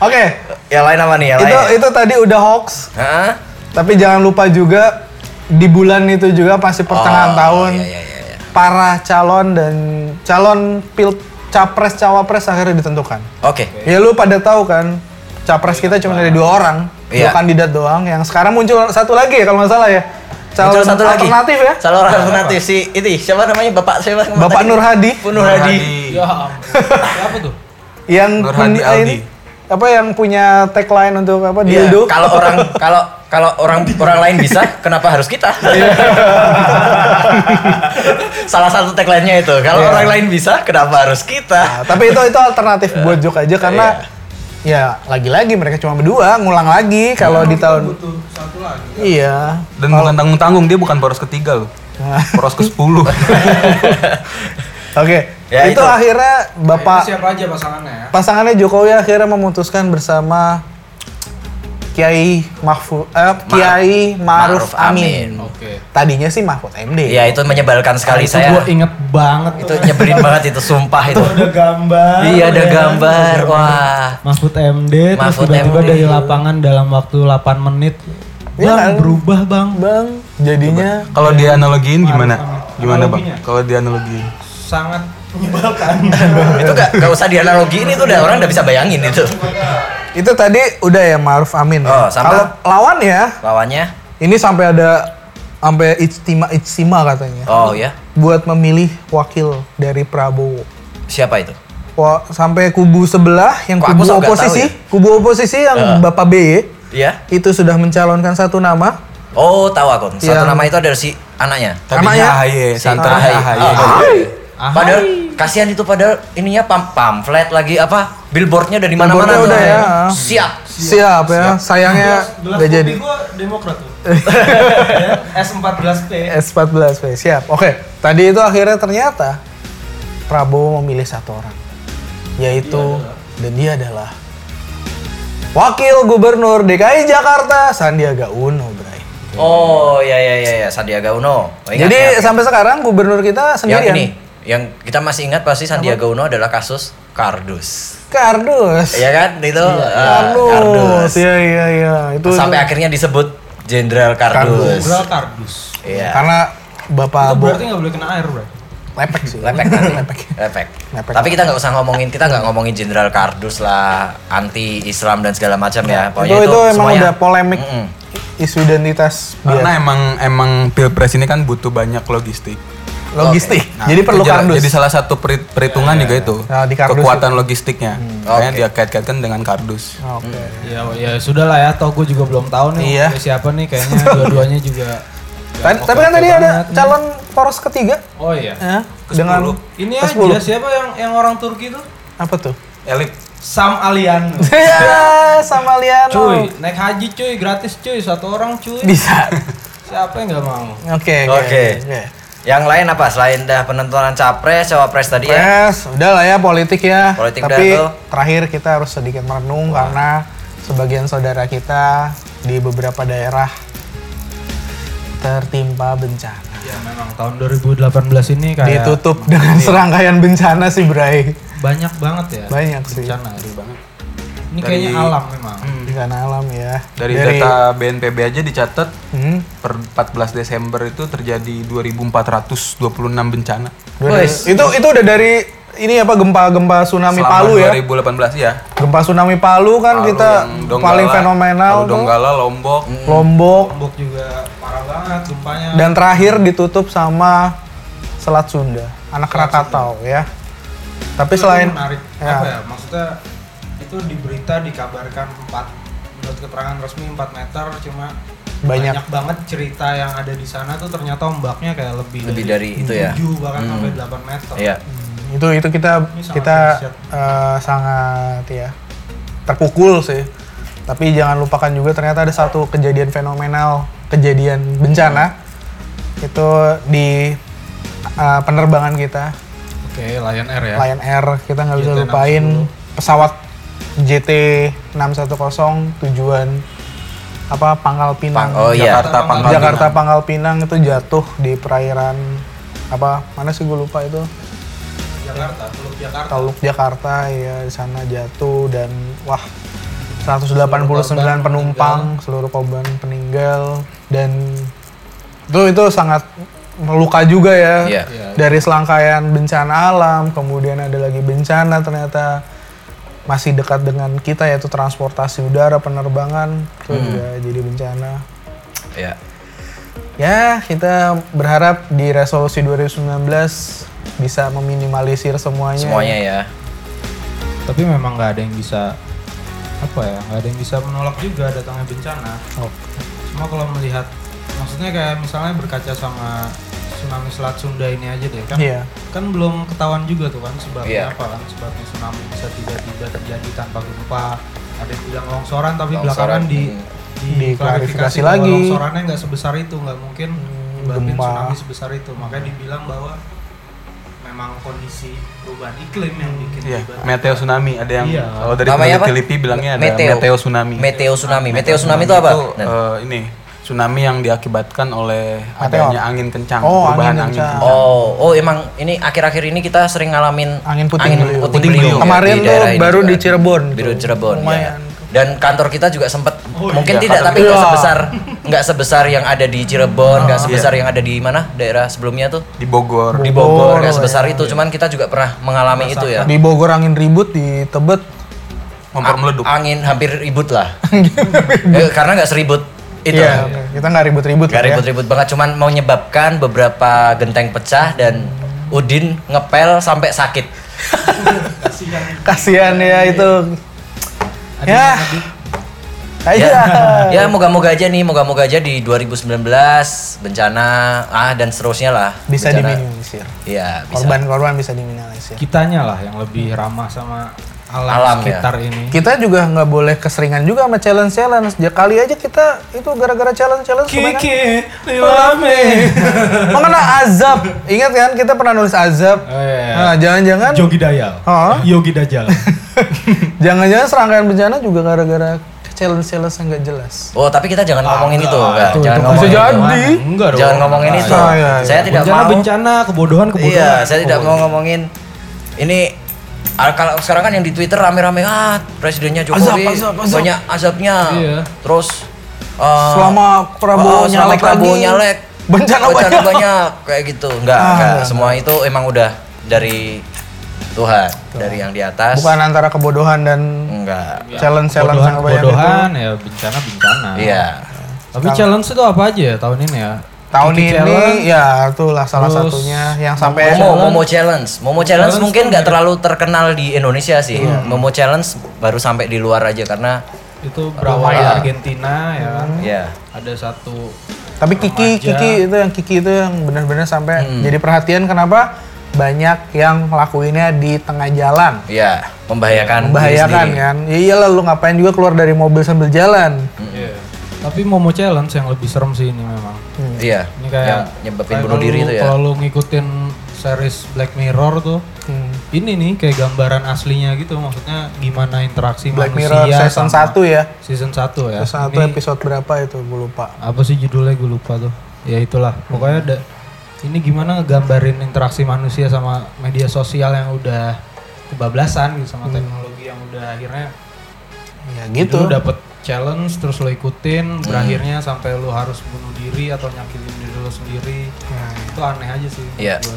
Oke.
Yang lain apa nih? Yang
Itu
lain.
itu tadi udah hoax.
Hah?
Tapi jangan lupa juga di bulan itu juga pasti pertengahan
Oh,
tahun
iya, iya, iya, iya.
para calon dan calon pil capres cawapres akhirnya ditentukan.
Oke.
Ya lu pada tahu kan capres kita cuma ada dua orang, dua
Iya.
kandidat doang. Yang sekarang muncul satu lagi ya kalau nggak salah ya. Calon
Muncul satu lagi.
alternatif ya.
Calon alternatif si itu siapa namanya Bapak siapa?
Bapak Nur Hadi.
Bu Nur Hadi.
Ya ampun. Siapa tuh?
Yang
Nur Hadi
men-
Aldi.
apa yang punya tagline untuk apa
Iya,
dildo?
Kalau orang kalau kalau orang orang lain bisa, kenapa harus kita?
Iya.
Salah satu tagline-nya itu. Kalau
Iya.
orang lain bisa, kenapa harus
Nah,
kita?
tapi itu itu alternatif buat joke aja karena ya
Iya.
lagi-lagi mereka cuma berdua ngulang lagi kalau di tahun
Iya, Butuh satu lagi.
Iya.
Dan bukan tanggung-tanggung, dia bukan poros ketiga loh.
Nah,
Poros ke-10.
Oke.
Ya,
itu,
itu.
akhirnya Bapak
Itu siapa aja pasangannya ya?
pasangannya Jokowi akhirnya memutuskan bersama Kiai Mahfud eh, Kiai Ma'ruf
Ma'ruf
Amin. Nah,
Amin.
Oke.
Tadinya sih Mahfud MD.
Iya, itu menyebalkan sekali
Itu
saya.
gua inget banget
Itu nyebelin banget itu, sumpah itu.
ada gambar.
Iya,
ya
ada
kan?
gambar.
Terus ada
Wah.
Mahfud MD terus
Mahfud
tiba-tiba
MD.
dari lapangan dalam waktu 8 menit.
Iya
Bang,
kan?
berubah, Bang.
Bang, jadinya
Kalau dianalogiin gimana?
Maruf Amin.
Gimana
Analoginya?
bang? Kalau dianalogiin?
Sangat menyebalkan.
itu gak, gak usah dianalogiin itu udah orang udah bisa bayangin itu.
itu tadi udah ya Ma'ruf Amin. ya.
Oh, sama.
Kalau lawan ya,
Lawannya.
ini sampai ada sampai ijtima ijtima katanya
Oh ya.
buat memilih wakil dari Prabowo.
Siapa itu?
Wah, sampai kubu sebelah yang
Kok aku
kubu
sampai nggak
oposisi,
tahu ya? Eh.
kubu oposisi yang
Heeh.
Bapak BY
Iya.
itu sudah mencalonkan satu nama.
Oh, tahu aku. Satu
Yang-
nama itu ada si anaknya.
Tadinya
ya?
Namanya?
AHY, santer
Ahai. Oh,
AHY.
ah.
Ahai.
Padahal kasihan itu padahal ininya pam pamflet lagi apa billboardnya udah di
Billboardnya
mana-mana tuh.
udah ya.
Siap.
Siap, ya, sayangnya nggak jadi.
Gue demokrat tuh. Ya, S14P.
S14 Pak. siap. Oke, tadi itu akhirnya ternyata Prabowo memilih satu orang, yaitu dan dia adalah Wakil Gubernur DKI Jakarta Sandiaga Uno, Bray.
Oh ya ya ya ya Sandiaga Uno. Oh, ingat,
Jadi
ingat.
sampai sekarang gubernur kita
yang
sendirian.
ini yang kita masih ingat pasti Sandiaga Uno adalah kasus kardus.
Kardus.
Iya kan itu eh,
Kardus. Iya iya iya. Itu
Sampai
itu.
akhirnya disebut Jenderal Kardus.
Jenderal Kardus.
Iya.
karena Bapak
Itu
Bo
berarti nggak boleh kena air, bro.
lepek sih.
Lepek nanti.
Lepek.
Lepek.
Lepek.
Tapi kita nggak usah ngomongin, kita nggak ngomongin Jenderal Kardus lah, anti Islam dan segala macam ya.
Itu,
Pokoknya
itu, emang
semuanya-
udah polemik
Mm-mm.
isu identitas
Karena
biasa.
Iya.
emang emang pilpres ini kan butuh banyak logistik.
logistik.
Nah,
jadi
itu
perlu
jala-
kardus.
Jadi salah satu peri- perhitungan juga itu.
Nah, di kardus Hmm.
kekuatan logistiknya. Makanya
Oke.
dia kait-kaitkan dengan kardus.
Oke.
Ya, ya sudah lah ya. Toh gue juga belum tahu nih
Iya.
wakilnya siapa nih. Kayaknya dua-duanya juga.
Tadi- tapi kan
oke
tadi ada
banget nih.
calon poros ketiga
Oh iya.
ya, dengan
Ini
ke
aja
10.
siapa yang yang orang Turki tuh?
apa tuh?
Elit.
Sam Aliano.
ya, sama Liano.
cuy, naik haji cuy, gratis cuy, satu orang cuy.
Bisa.
Siapa yang nggak mau?
Oke,
Oke. Yang lain apa selain dah penentuan capres, cawapres tadi ya?
Yes, udah lah ya politik ya.
Politik
Tapi
udah tuh.
terakhir kita harus sedikit merenung karena sebagian saudara kita di beberapa daerah tertimpa bencana.
Ya memang tahun 2018 ini
Iya,
kayak
Ditutup dengan
Iya.
serangkaian bencana sih, Bray.
banyak banget ya.
Banyak sih. Hmm.
Bencana ya. Ini kayaknya alam memang.
Bencana alam ya.
Dari, data BNPB aja dicatat
Hmm,
per 14 Desember itu terjadi 2426 bencana.
dari-
Wes.
itu itu udah dari ini apa gempa-gempa tsunami
Selama
Palu ya.
2018 ya.
Gempa tsunami Palu kan
Palu
kita
yang Donggala,
paling fenomenal
Palu
tuh.
Donggala, Lombok.
Mm.
Lombok
Lombok juga parah banget gempanya.
dan terakhir ditutup sama Selat Sunda, anak Krakatau ya. Tapi
Itu
selain
menarik
ya.
apa ya? Maksudnya itu di berita dikabarkan 4 menurut keterangan resmi 4 meter cuma
Banyak.
banget cerita yang ada di sana tuh ternyata ombaknya kayak lebih
Lebih dari itu ya.
7 bahkan sampai 8 meter.
Iya.
itu itu kita
Ini sangat
kita
dahsyat.
eh, sangat ya terpukul sih. Tapi jangan lupakan juga ternyata ada satu kejadian fenomenal, kejadian bencana itu di eh, penerbangan kita
Oke, Lion Air ya.
Lion Air kita nggak bisa
JT610.
lupain pesawat JT 610 tujuan apa Pangkal Pinang
Pang- oh iya.
Jakarta Pangkal
Jakarta Pangkal Pinang itu jatuh di perairan apa mana sih gue lupa itu
Jakarta, Teluk Jakarta.
Teluk Jakarta ya di sana jatuh dan wah 189
Seluruh korban
penumpang seluruh korban peninggal dan itu itu sangat meluka juga ya
Iya.
Iya.
dari selangkaian bencana alam kemudian ada lagi bencana ternyata masih dekat dengan kita yaitu transportasi udara penerbangan itu juga jadi bencana
Iya.
ya kita berharap di resolusi 2019 bisa meminimalisir semuanya
Semuanya ya.
Tapi memang nggak ada yang bisa apa ya? Nggak ada yang bisa menolak juga datangnya bencana.
Oh,
Cuma kalau melihat maksudnya kayak misalnya berkaca sama tsunami Selat Sunda ini aja deh kan.
Iya.
Kan belum ketahuan juga tuh kan sebabnya
Iya.
apa kan? Sebabnya tsunami bisa tiba-tiba terjadi tanpa gempa. Ada yang bilang longsoran tapi
Longsoran,
belakangan di
hmm.
Diklarifikasi
diklarifikasi bahwa
lagi.
Longsorannya nggak sebesar itu, nggak mungkin nyebabin
gempa.
tsunami sebesar itu. Makanya dibilang bahwa memang kondisi perubahan iklim yang bikin
Iya,
tiba-
meteo tsunami ada yang
Iya.
kalau dari
Namanya apa?
peneliti bilangnya ada meteo, tsunami.
Iya.
Meteo tsunami. Meteo tsunami itu apa? Nah,
eh, ini tsunami yang diakibatkan oleh adanya angin kencang,
Oh, angin
perubahan angin,
kencang.
kencang.
Oh, oh emang ini akhir-akhir ini kita sering ngalamin
Angin puting beliung.
Puting beliung.
ya,
Kemarin
di
tuh
daerah ini
baru
juga.
di Cirebon
Baru
tuh.
Cirebon. ya.
Lumayan.
Dan kantor kita juga sempet
Oh,
mungkin
iya,
tidak
kantor
tapi
kita.
nggak
Iya.
sebesar nggak sebesar yang ada di Cirebon,
Ah.
nggak sebesar yang ada di mana daerah sebelumnya tuh
Di Bogor.
di Bogor nggak sebesar
iya.
itu. Cuman kita juga pernah mengalami itu ya.
di Bogor angin ribut di Tebet
Kompor meleduk.
Angin hampir ribut lah. Eh, karena nggak seribut itu.
Iya, kita nggak ribut-ribut lah
Gak
ya.
ribut-ribut banget, cuman mau menyebabkan beberapa genteng pecah dan Udin ngepel sampai sakit.
Kasihan ya
Iya.
itu. Ya. Aja.
Ya, ya moga-moga aja nih, moga-moga aja di 2019 bencana ah dan seterusnya lah.
Bisa
Bencana.
diminimalisir.
Iya, bisa.
Korban-korban bisa diminimalisir.
kitanya lah yang lebih ramah sama alam,
Alam, ya.
sekitar ini.
Kita juga nggak boleh keseringan juga sama challenge-challenge. Ya, kali aja kita itu gara-gara challenge-challenge kebanyakan
kan? lilame.
mengena azab. Ingat kan kita pernah nulis azab.
Oh, iya, iya.
Nah, jangan-jangan
Jogi Dayal.
Hah?
Yogi Dajjal.
jangan-jangan serangkaian bencana juga gara-gara challenge-challenge yang nggak jelas.
Oh, tapi kita jangan ngomongin itu, enggak. Jangan
itu Ah,
ngomongin
bisa
itu.
jadi.
Enggak dong.
Jangan ngomongin itu.
Ah, iya, iya.
Saya tidak
bencana,
mau.
bencana, kebodohan, kebodohan.
Iya, saya tidak
Oh.
mau ngomongin ini ah, kalau sekarang kan yang di Twitter rame-rame ah presidennya
Azab,
Jokowi
azab, azab.
banyak azabnya.
Iya.
Terus eh,
Selama Prabowo
eh, selama
nyalek
Prabowo
lagi,
nyalek
bencana banyak.
kayak gitu. Enggak,
Ah,
enggak.
enggak,
Semua itu emang udah dari Tuhan, dari yang di atas.
Bukan antara kebodohan dan
Enggak.
challenge-challenge
Kebodohan,
yang banyak itu.
Ya, kebodohan, ya bencana, bencana.
Ah.
Iya.
Tapi challenge itu apa aja ya tahun ini ya?
Tahun
Kiki
ini
challenge,
ya itulah salah
terus
satunya yang sampai
Momo, Momo Challenge. Momo Challenge
Challenge
mungkin
tuh
nggak terlalu terkenal di Indonesia sih.
Iya.
Momo Challenge baru sampai di luar aja karena
itu berawal dari
Lumayan.
Argentina ya kan.
Hmm.
ya
Ada satu
tapi Kiki
Remaja.
Kiki itu yang Kiki itu yang benar-benar sampai jadi perhatian kenapa banyak yang lakuinnya di tengah jalan.
ya membahayakan diri
Membahayakan
sendiri.
kan. Ya iyalah lu ngapain juga keluar dari mobil sambil jalan.
Iya. Tapi Momo Challenge yang lebih serem sih ini memang.
Iya.
Ini kayak
yang nyebabin
kayak
bunuh
kalau
diri
lu-
itu ya.
Kalau lu ngikutin series Black Mirror tuh,
Hmm.
ini nih kayak gambaran aslinya gitu. Maksudnya gimana interaksi
Black
manusia
Mirror season
sama-
1 ya.
Season 1 ya.
Season 1
Ini
episode berapa itu gue lupa.
apa sih judulnya gue lupa tuh. Ya itulah. Pokoknya ada ini gimana ngegambarin interaksi manusia sama media sosial yang udah kebablasan gitu
Hmm.
sama teknologi yang udah akhirnya
Ya gitu.
Lu dapet challenge terus lo
Hmm.
ikutin berakhirnya sampai lu harus bunuh diri atau nyakitin diri lo sendiri.
Ya,
Itu aneh aja sih. menurut
Iya.
gua.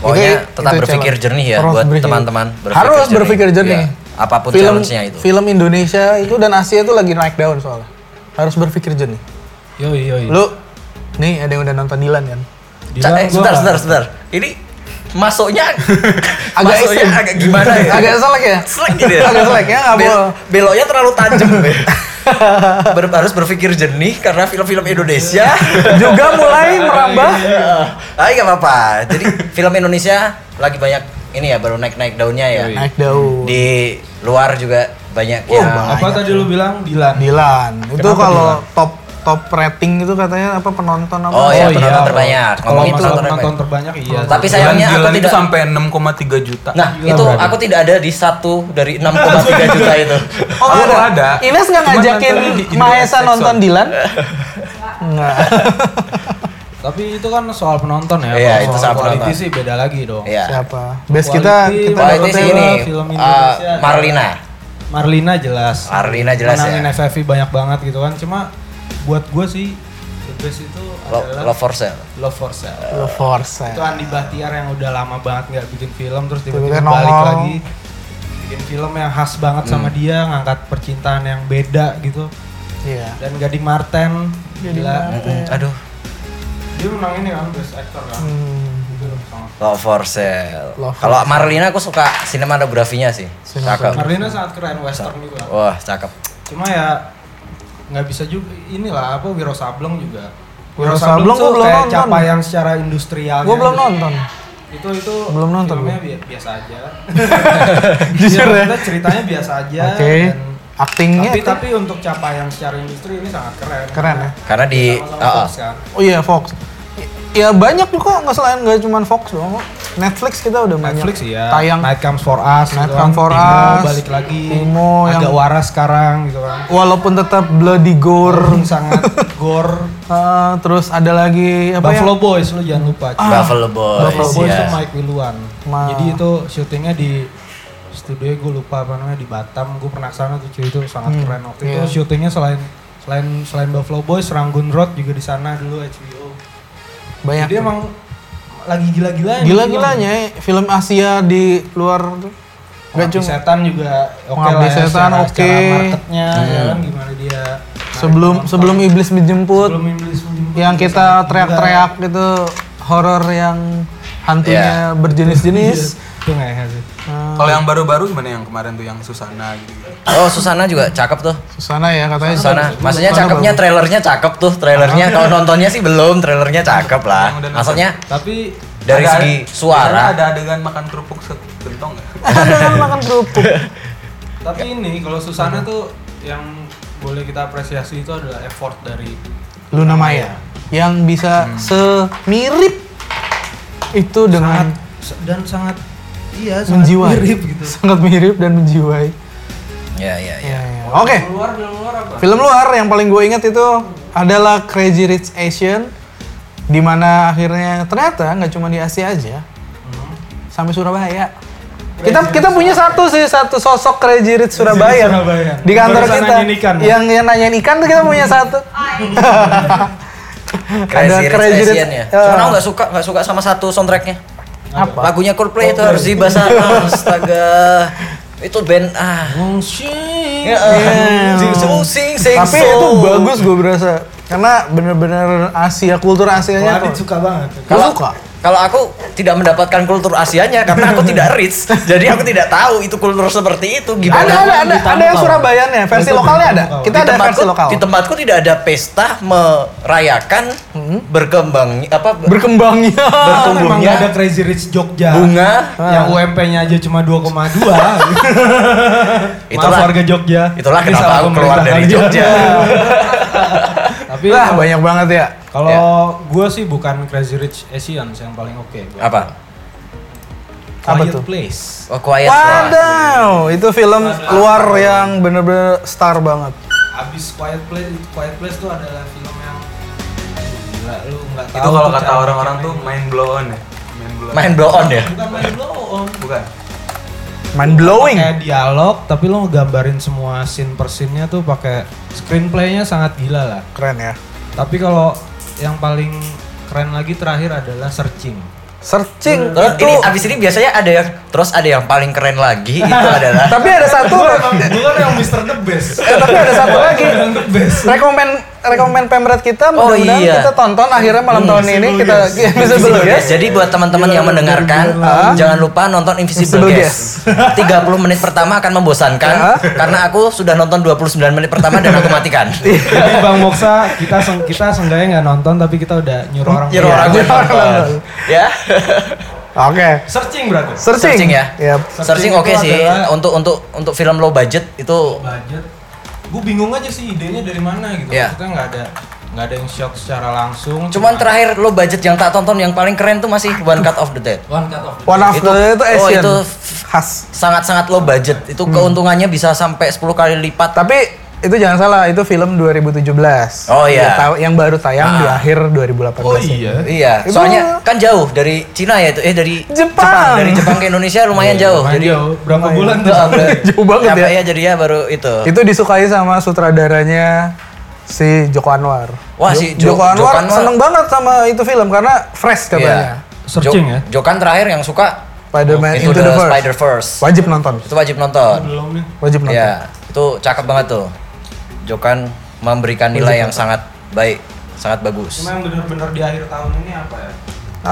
Pokoknya tetap berpikir jernih ya buat teman-teman, berpikir
harus
jernih.
berpikir jernih.
Iya, apapun challenge-nya itu.
Film Indonesia itu dan Asia itu lagi naik daun soalnya. Harus berpikir jernih.
Yoi yoi.
Hmm.
Lu nih ada yang udah nonton Dilan kan?
Di
Ca-
luar
eh,
gua
sebentar,
nggak-
sebentar, sebentar. Ini masuknya
Agak
masuknya
ekstrim.
agak gimana ya?
Agak selek ya?
selek gitu ya.
Agak selek ya, nggak
Bel-
boleh.
Beloknya terlalu tajam. Ber- harus berpikir jernih karena film-film Indonesia
Juga mulai merambah.
Ah, nggak apa-apa. Jadi film Indonesia lagi banyak ini ya baru naik-naik daunnya ya.
Naik daun.
Di luar juga banyak ya.
Apa tadi lu bilang Dilan?
Dilan. Itu kalau top top rating itu katanya apa penonton apa?
Oh, iya,
apa?
penonton terbanyak.
Kalau
Ngomong itu
masalah
penonton
penonton terbanyak iya.
Tapi sayangnya
Bulan
aku
Dilan
tidak
itu sampai 6,3 juta.
Nah,
Gila,
itu
berarti.
aku tidak ada di satu dari 6,3 juta itu.
Oh,
Aku
ada.
ada.
Ines nggak
Cuman
ngajakin
nontonnya di Indo
Mahesa
Saxon.
nonton Dilan? Enggak.
Tapi itu kan soal penonton ya.
Iya,
Kalau
itu soal
quality
penonton.
sih beda lagi dong.
Iya.
Siapa? Best kita
Quality,
kita
Wah, ini
Hotel,
sih ini
film
eh,
Indonesia.
Marlina.
Marlina jelas.
Marlina jelas
Menangin
ya.
FFV banyak banget gitu kan. Cuma buat gue sih the best itu
Lo-
adalah
Love for Sale.
Love for Sale.
The Force. ya.
Itu Andi Bahtiar yang udah lama banget nggak bikin film terus tiba-tiba
Tiba-tiba
balik
nongol.
lagi bikin film yang khas banget
Hmm.
sama dia, ngangkat percintaan yang beda gitu.
Iya.
Dan Gading Marten, gila.
Mm-mm. Aduh,
Dia menang ini kan best actor kan.
Hmm.
Gitu loh, sama.
Love for Sale.
Love for
Kalau Marlina aku suka sinematografinya sih. Cakep.
Marlina sangat keren western juga.
Wah, cakep.
Cuma ya nggak bisa juga inilah apa Wiro Sableng juga.
Wiro Sableng gua
tuh
belum
kayak
nonton.
capaian secara gitu. industrial.
Gue belum nonton.
Itu itu
Belum nonton
filmnya
gua.
bi- biasa aja. Iya,
Jujur ya?
maksudnya ceritanya biasa aja.
Oke.
dan-
Iya, Aktingnya
tapi
itu-
tapi untuk capaian secara industri ini sangat keren.
keren ya.
Karena di
Sama-sama
oh, oh.
Fox kan.
Oh iya Fox. Ya banyak juga kok nggak selain nggak cuma Fox doang. kok. Netflix kita udah banyak
Netflix ya.
tayang.
Night Comes for Us.
Night
gitu
Comes
kan.
for
Timo
Us,
balik lagi.
Timo
agak
yang-
waras sekarang gitu kan.
Walaupun tetap bloody gore.
Walaupun sangat gore.
Eh, terus ada lagi apa ya? Ah,
Buffalo Boys lu jangan lupa.
Buffalo
Oh,
Boys.
Buffalo Boys itu
ya.
Mike Wiluan.
Ma-
Jadi itu syutingnya di studio gue lupa apa namanya di Batam. Gue pernah kesana tuh cuy itu sangat keren waktu
iya.
itu syutingnya selain selain selain Buffalo Boys, Ranggun Road juga di sana dulu HBO.
ya? Banyak.
Jadi emang lagi gila-gilanya.
Gila-gilanya ya, film Asia di luar tuh. Gak
Gak
cuma
setan juga oke
Pengabdi
lah ya,
Setan
secara,
oke. Iya.
secara marketnya ya kan gimana dia menarik
sebelum
penonton.
sebelum iblis dijemput
Sebelum Iblis menjemput
yang
juga
kita
sangat
teriak-teriak gitu horor yang
Iya.
hantunya
gila.
berjenis-jenis.
Iya. Itu ya, ngehe sih.
Nah.
Kalau yang baru-baru gimana yang kemarin tuh yang Susana gitu.
Oh, Susana juga cakep tuh.
Iya.
Susana ya katanya.
Susana, maksudnya cakepnya trailernya cakep tuh, trailernya. Kalau nontonnya sih belum, trailernya cakep lah. Maksudnya
Tapi
dari
Ada-
segi
Karena
suara.
ada adegan makan kerupuk sebentong nggak?
Ada kan makan kerupuk.
tapi ini kalau Susana tuh yang boleh kita apresiasi itu adalah effort dari
Luna Maya yang bisa
Hmm.
semirip itu dengan
dan sangat iya
menjiwai.
mirip gitu.
Sangat mirip dan menjiwai.
Ya, ya,
Ya,
ya.
ya.
Oh,
Oke.
Keluar dan keluar apa?
Film luar yang paling gue ingat itu adalah Crazy Rich Asian dimana akhirnya ternyata nggak cuma di Asia aja
Hmm.
sampai Surabaya kita kita punya satu sih satu sosok Crazy Rich Surabaya,
Surabaya.
di kantor
Barusan
kita
nanyain ikan, ya?
yang yang nanyain ikan tuh kita punya satu
Crazy Rich
Crazy Rich-
Asian
ya.
ya. Cuma aku nggak suka, nggak suka sama satu soundtracknya.
apa
Lagunya Coldplay itu harus di bahasa astaga. Itu band ah.
Iya.
Ya,
Yeah.
sing sing sing sing
Iya, tapi itu
song.
bagus gue berasa karena bener-bener Asia kultur Asianya
Adit
tuh.
suka banget.
Gue
Kalau-
suka
Kalau aku tidak mendapatkan kultur Asianya karena aku tidak rich, jadi aku tidak tahu itu kultur seperti itu gimana.
ada ada ada ada yang Surabayanya versi lokalnya ada kita
di
ada
tempatku,
versi lokal
di tempatku tidak ada pesta merayakan
Hmm?
berkembang apa
berkembangnya Ah.
Emang
bertumbuhnya
nggak ada Crazy Rich Jogja.
bunga
Yang UMP-nya aja cuma 2,2. Maaf
Itulah-
warga Jogja.
itulah
Ini
kenapa
salah
aku keluar
pemerintah ya.
dari
aja.
Jogja.
Tapi
lah
kalau-
banyak banget ya
kalau gue sih bukan Crazy Rich Asians yang paling oke.
apa?
Apa
Quiet
tuh?
Place.
Oh, quiet Place.
Wadaw, itu film luar yang bener-bener star banget.
Abis Quiet Place, Quiet Place tuh adalah film yang gila lu nggak tahu.
Itu kalau
tuh
kata
cara
orang-orang tuh
bikinnya.
main blow on ya. Main blow on.
Main blow on ya.
bukan main blow on.
Bukan.
Mind blowing.
Kayak dialog, tapi lu ngegambarin semua scene per scene-nya tuh pakai screenplay-nya sangat gila lah.
Keren ya.
Tapi kalau yang paling keren lagi terakhir adalah searching.
Searching
Terus
itu.
ini abis ini biasanya ada yang terus ada yang paling keren lagi itu adalah
tapi ada satu
Gue kan yang Mr. The Best.
eh, tapi ada satu lagi.
Yang The Best.
Rekomen rekomen pemret kita
Oh,
mudah-mudahan
iya.
kita tonton akhirnya malam tahun ini kita
Invisible
Invisible
Guest.
Guest.
Jadi buat teman-teman yang mendengarkan, eh, jangan lupa nonton Invisible,
Invisible
Guest. 30 menit pertama akan membosankan
Iya.
karena aku sudah nonton 29 menit pertama dan aku matikan.
Iya.
Jadi Bang Moksa kita seng- kita seenggaknya nggak nonton tapi kita udah nyuruh orang.
Hmm, Nyuruh Ya, orang buat
Iya, orang
nonton. Ya.
Oke.
Searching berarti.
Searching.
Searching ya.
Yap.
Searching
Searching
oke
itu
sih
adalah-
untuk untuk untuk film low budget itu
Budget. Gue bingung aja sih idenya dari mana gitu.
Iya.
Kita nggak ada nggak ada yang shock secara langsung.
cuman terakhir low budget yang tak tonton yang paling keren tuh masih One Cut of the Dead.
one cut off.
One
Itu-
after itu,
oh,
Asian.
itu-
khas.
Sangat-sangat low budget. Itu keuntungannya bisa sampai 10 kali lipat.
Hmm. Tapi itu jangan salah, itu film 2017.
Oh, iya. Ah.
Yang tahu- Yang baru tayang di akhir 2018.
Oh iya.
Iya,
Itu-
soalnya kan jauh dari Cina ya itu, eh dari
Jepang. Iya,
dari Jepang ke Indonesia lumayan jauh.
Lumayan
Jadi
jauh. berapa bulan tuh?
Nah, ber-
Jauh banget
capek
ya.
ya jadi ya baru itu.
Itu disukai sama sutradaranya si Joko Anwar.
Wah, si Jo-
Joko Anwar,
Joko Anwar. Iya.
seneng banget sama itu film karena fresh katanya.
Searching ya?
Jokan terakhir yang suka
Spider-Man
Into, the, Spider-Verse.
Wajib nonton.
Itu wajib nonton.
Belum nih.
Wajib nonton.
Iya, itu cakep banget tuh. Jokan memberikan nilai yang sangat baik, sangat bagus.
Cuma yang benar-benar di akhir tahun ini apa ya?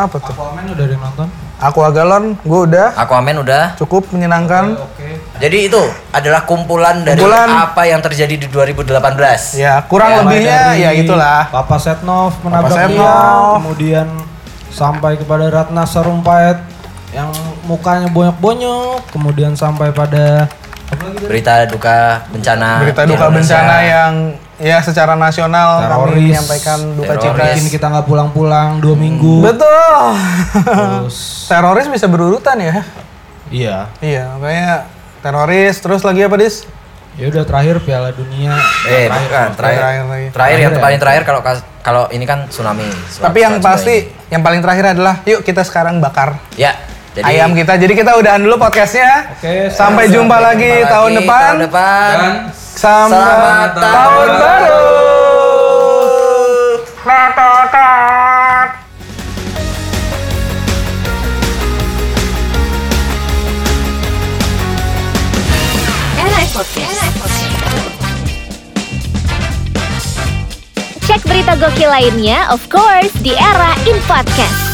Apa tuh?
Aquaman udah ada yang nonton.
Aku Agalon, gue udah
Aquaman udah.
cukup menyenangkan.
Oke.
Jadi itu adalah kumpulan dari
Kumpulan.
apa yang terjadi di 2018.
Ya, kurang
Ya,
lebihnya
Dari
ya gitulah.
Papa Setnov menabrak
Setnov.
dia, kemudian sampai kepada Ratna Sarumpait yang mukanya bonyok-bonyok, kemudian sampai pada apa lagi tadi?
Berita duka bencana.
Berita
di
duka
Indonesia.
bencana yang ya secara nasional kami
Teroris.
menyampaikan duka
Teroris.
cita.
bikin kita nggak pulang-pulang dua minggu.
Hmm. Betul.
Terus
teroris bisa berurutan ya.
iya,
Iya, makanya teroris terus lagi apa, Dis?
ya udah terakhir Piala Dunia.
Eh, bukan, terakhir.
Terakhir lagi.
Terakhir yang paling terakhir kalau kas- kalau ini kan tsunami. Surat-
Tapi yang
surat
pasti yang paling terakhir adalah yuk kita sekarang bakar
tsunami. Ya. Jadi
ayam kita. Jadi kita udahan dulu podcastnya.
Oke,
sampai jumpa lagi
Jumpa
tahun
lagi
depan.
Tahun depan.
Sampai
Selamat
tahun,
tahun
baru.
Era Podcast.
Cek berita gokil lainnya, of course, di era In Podcast.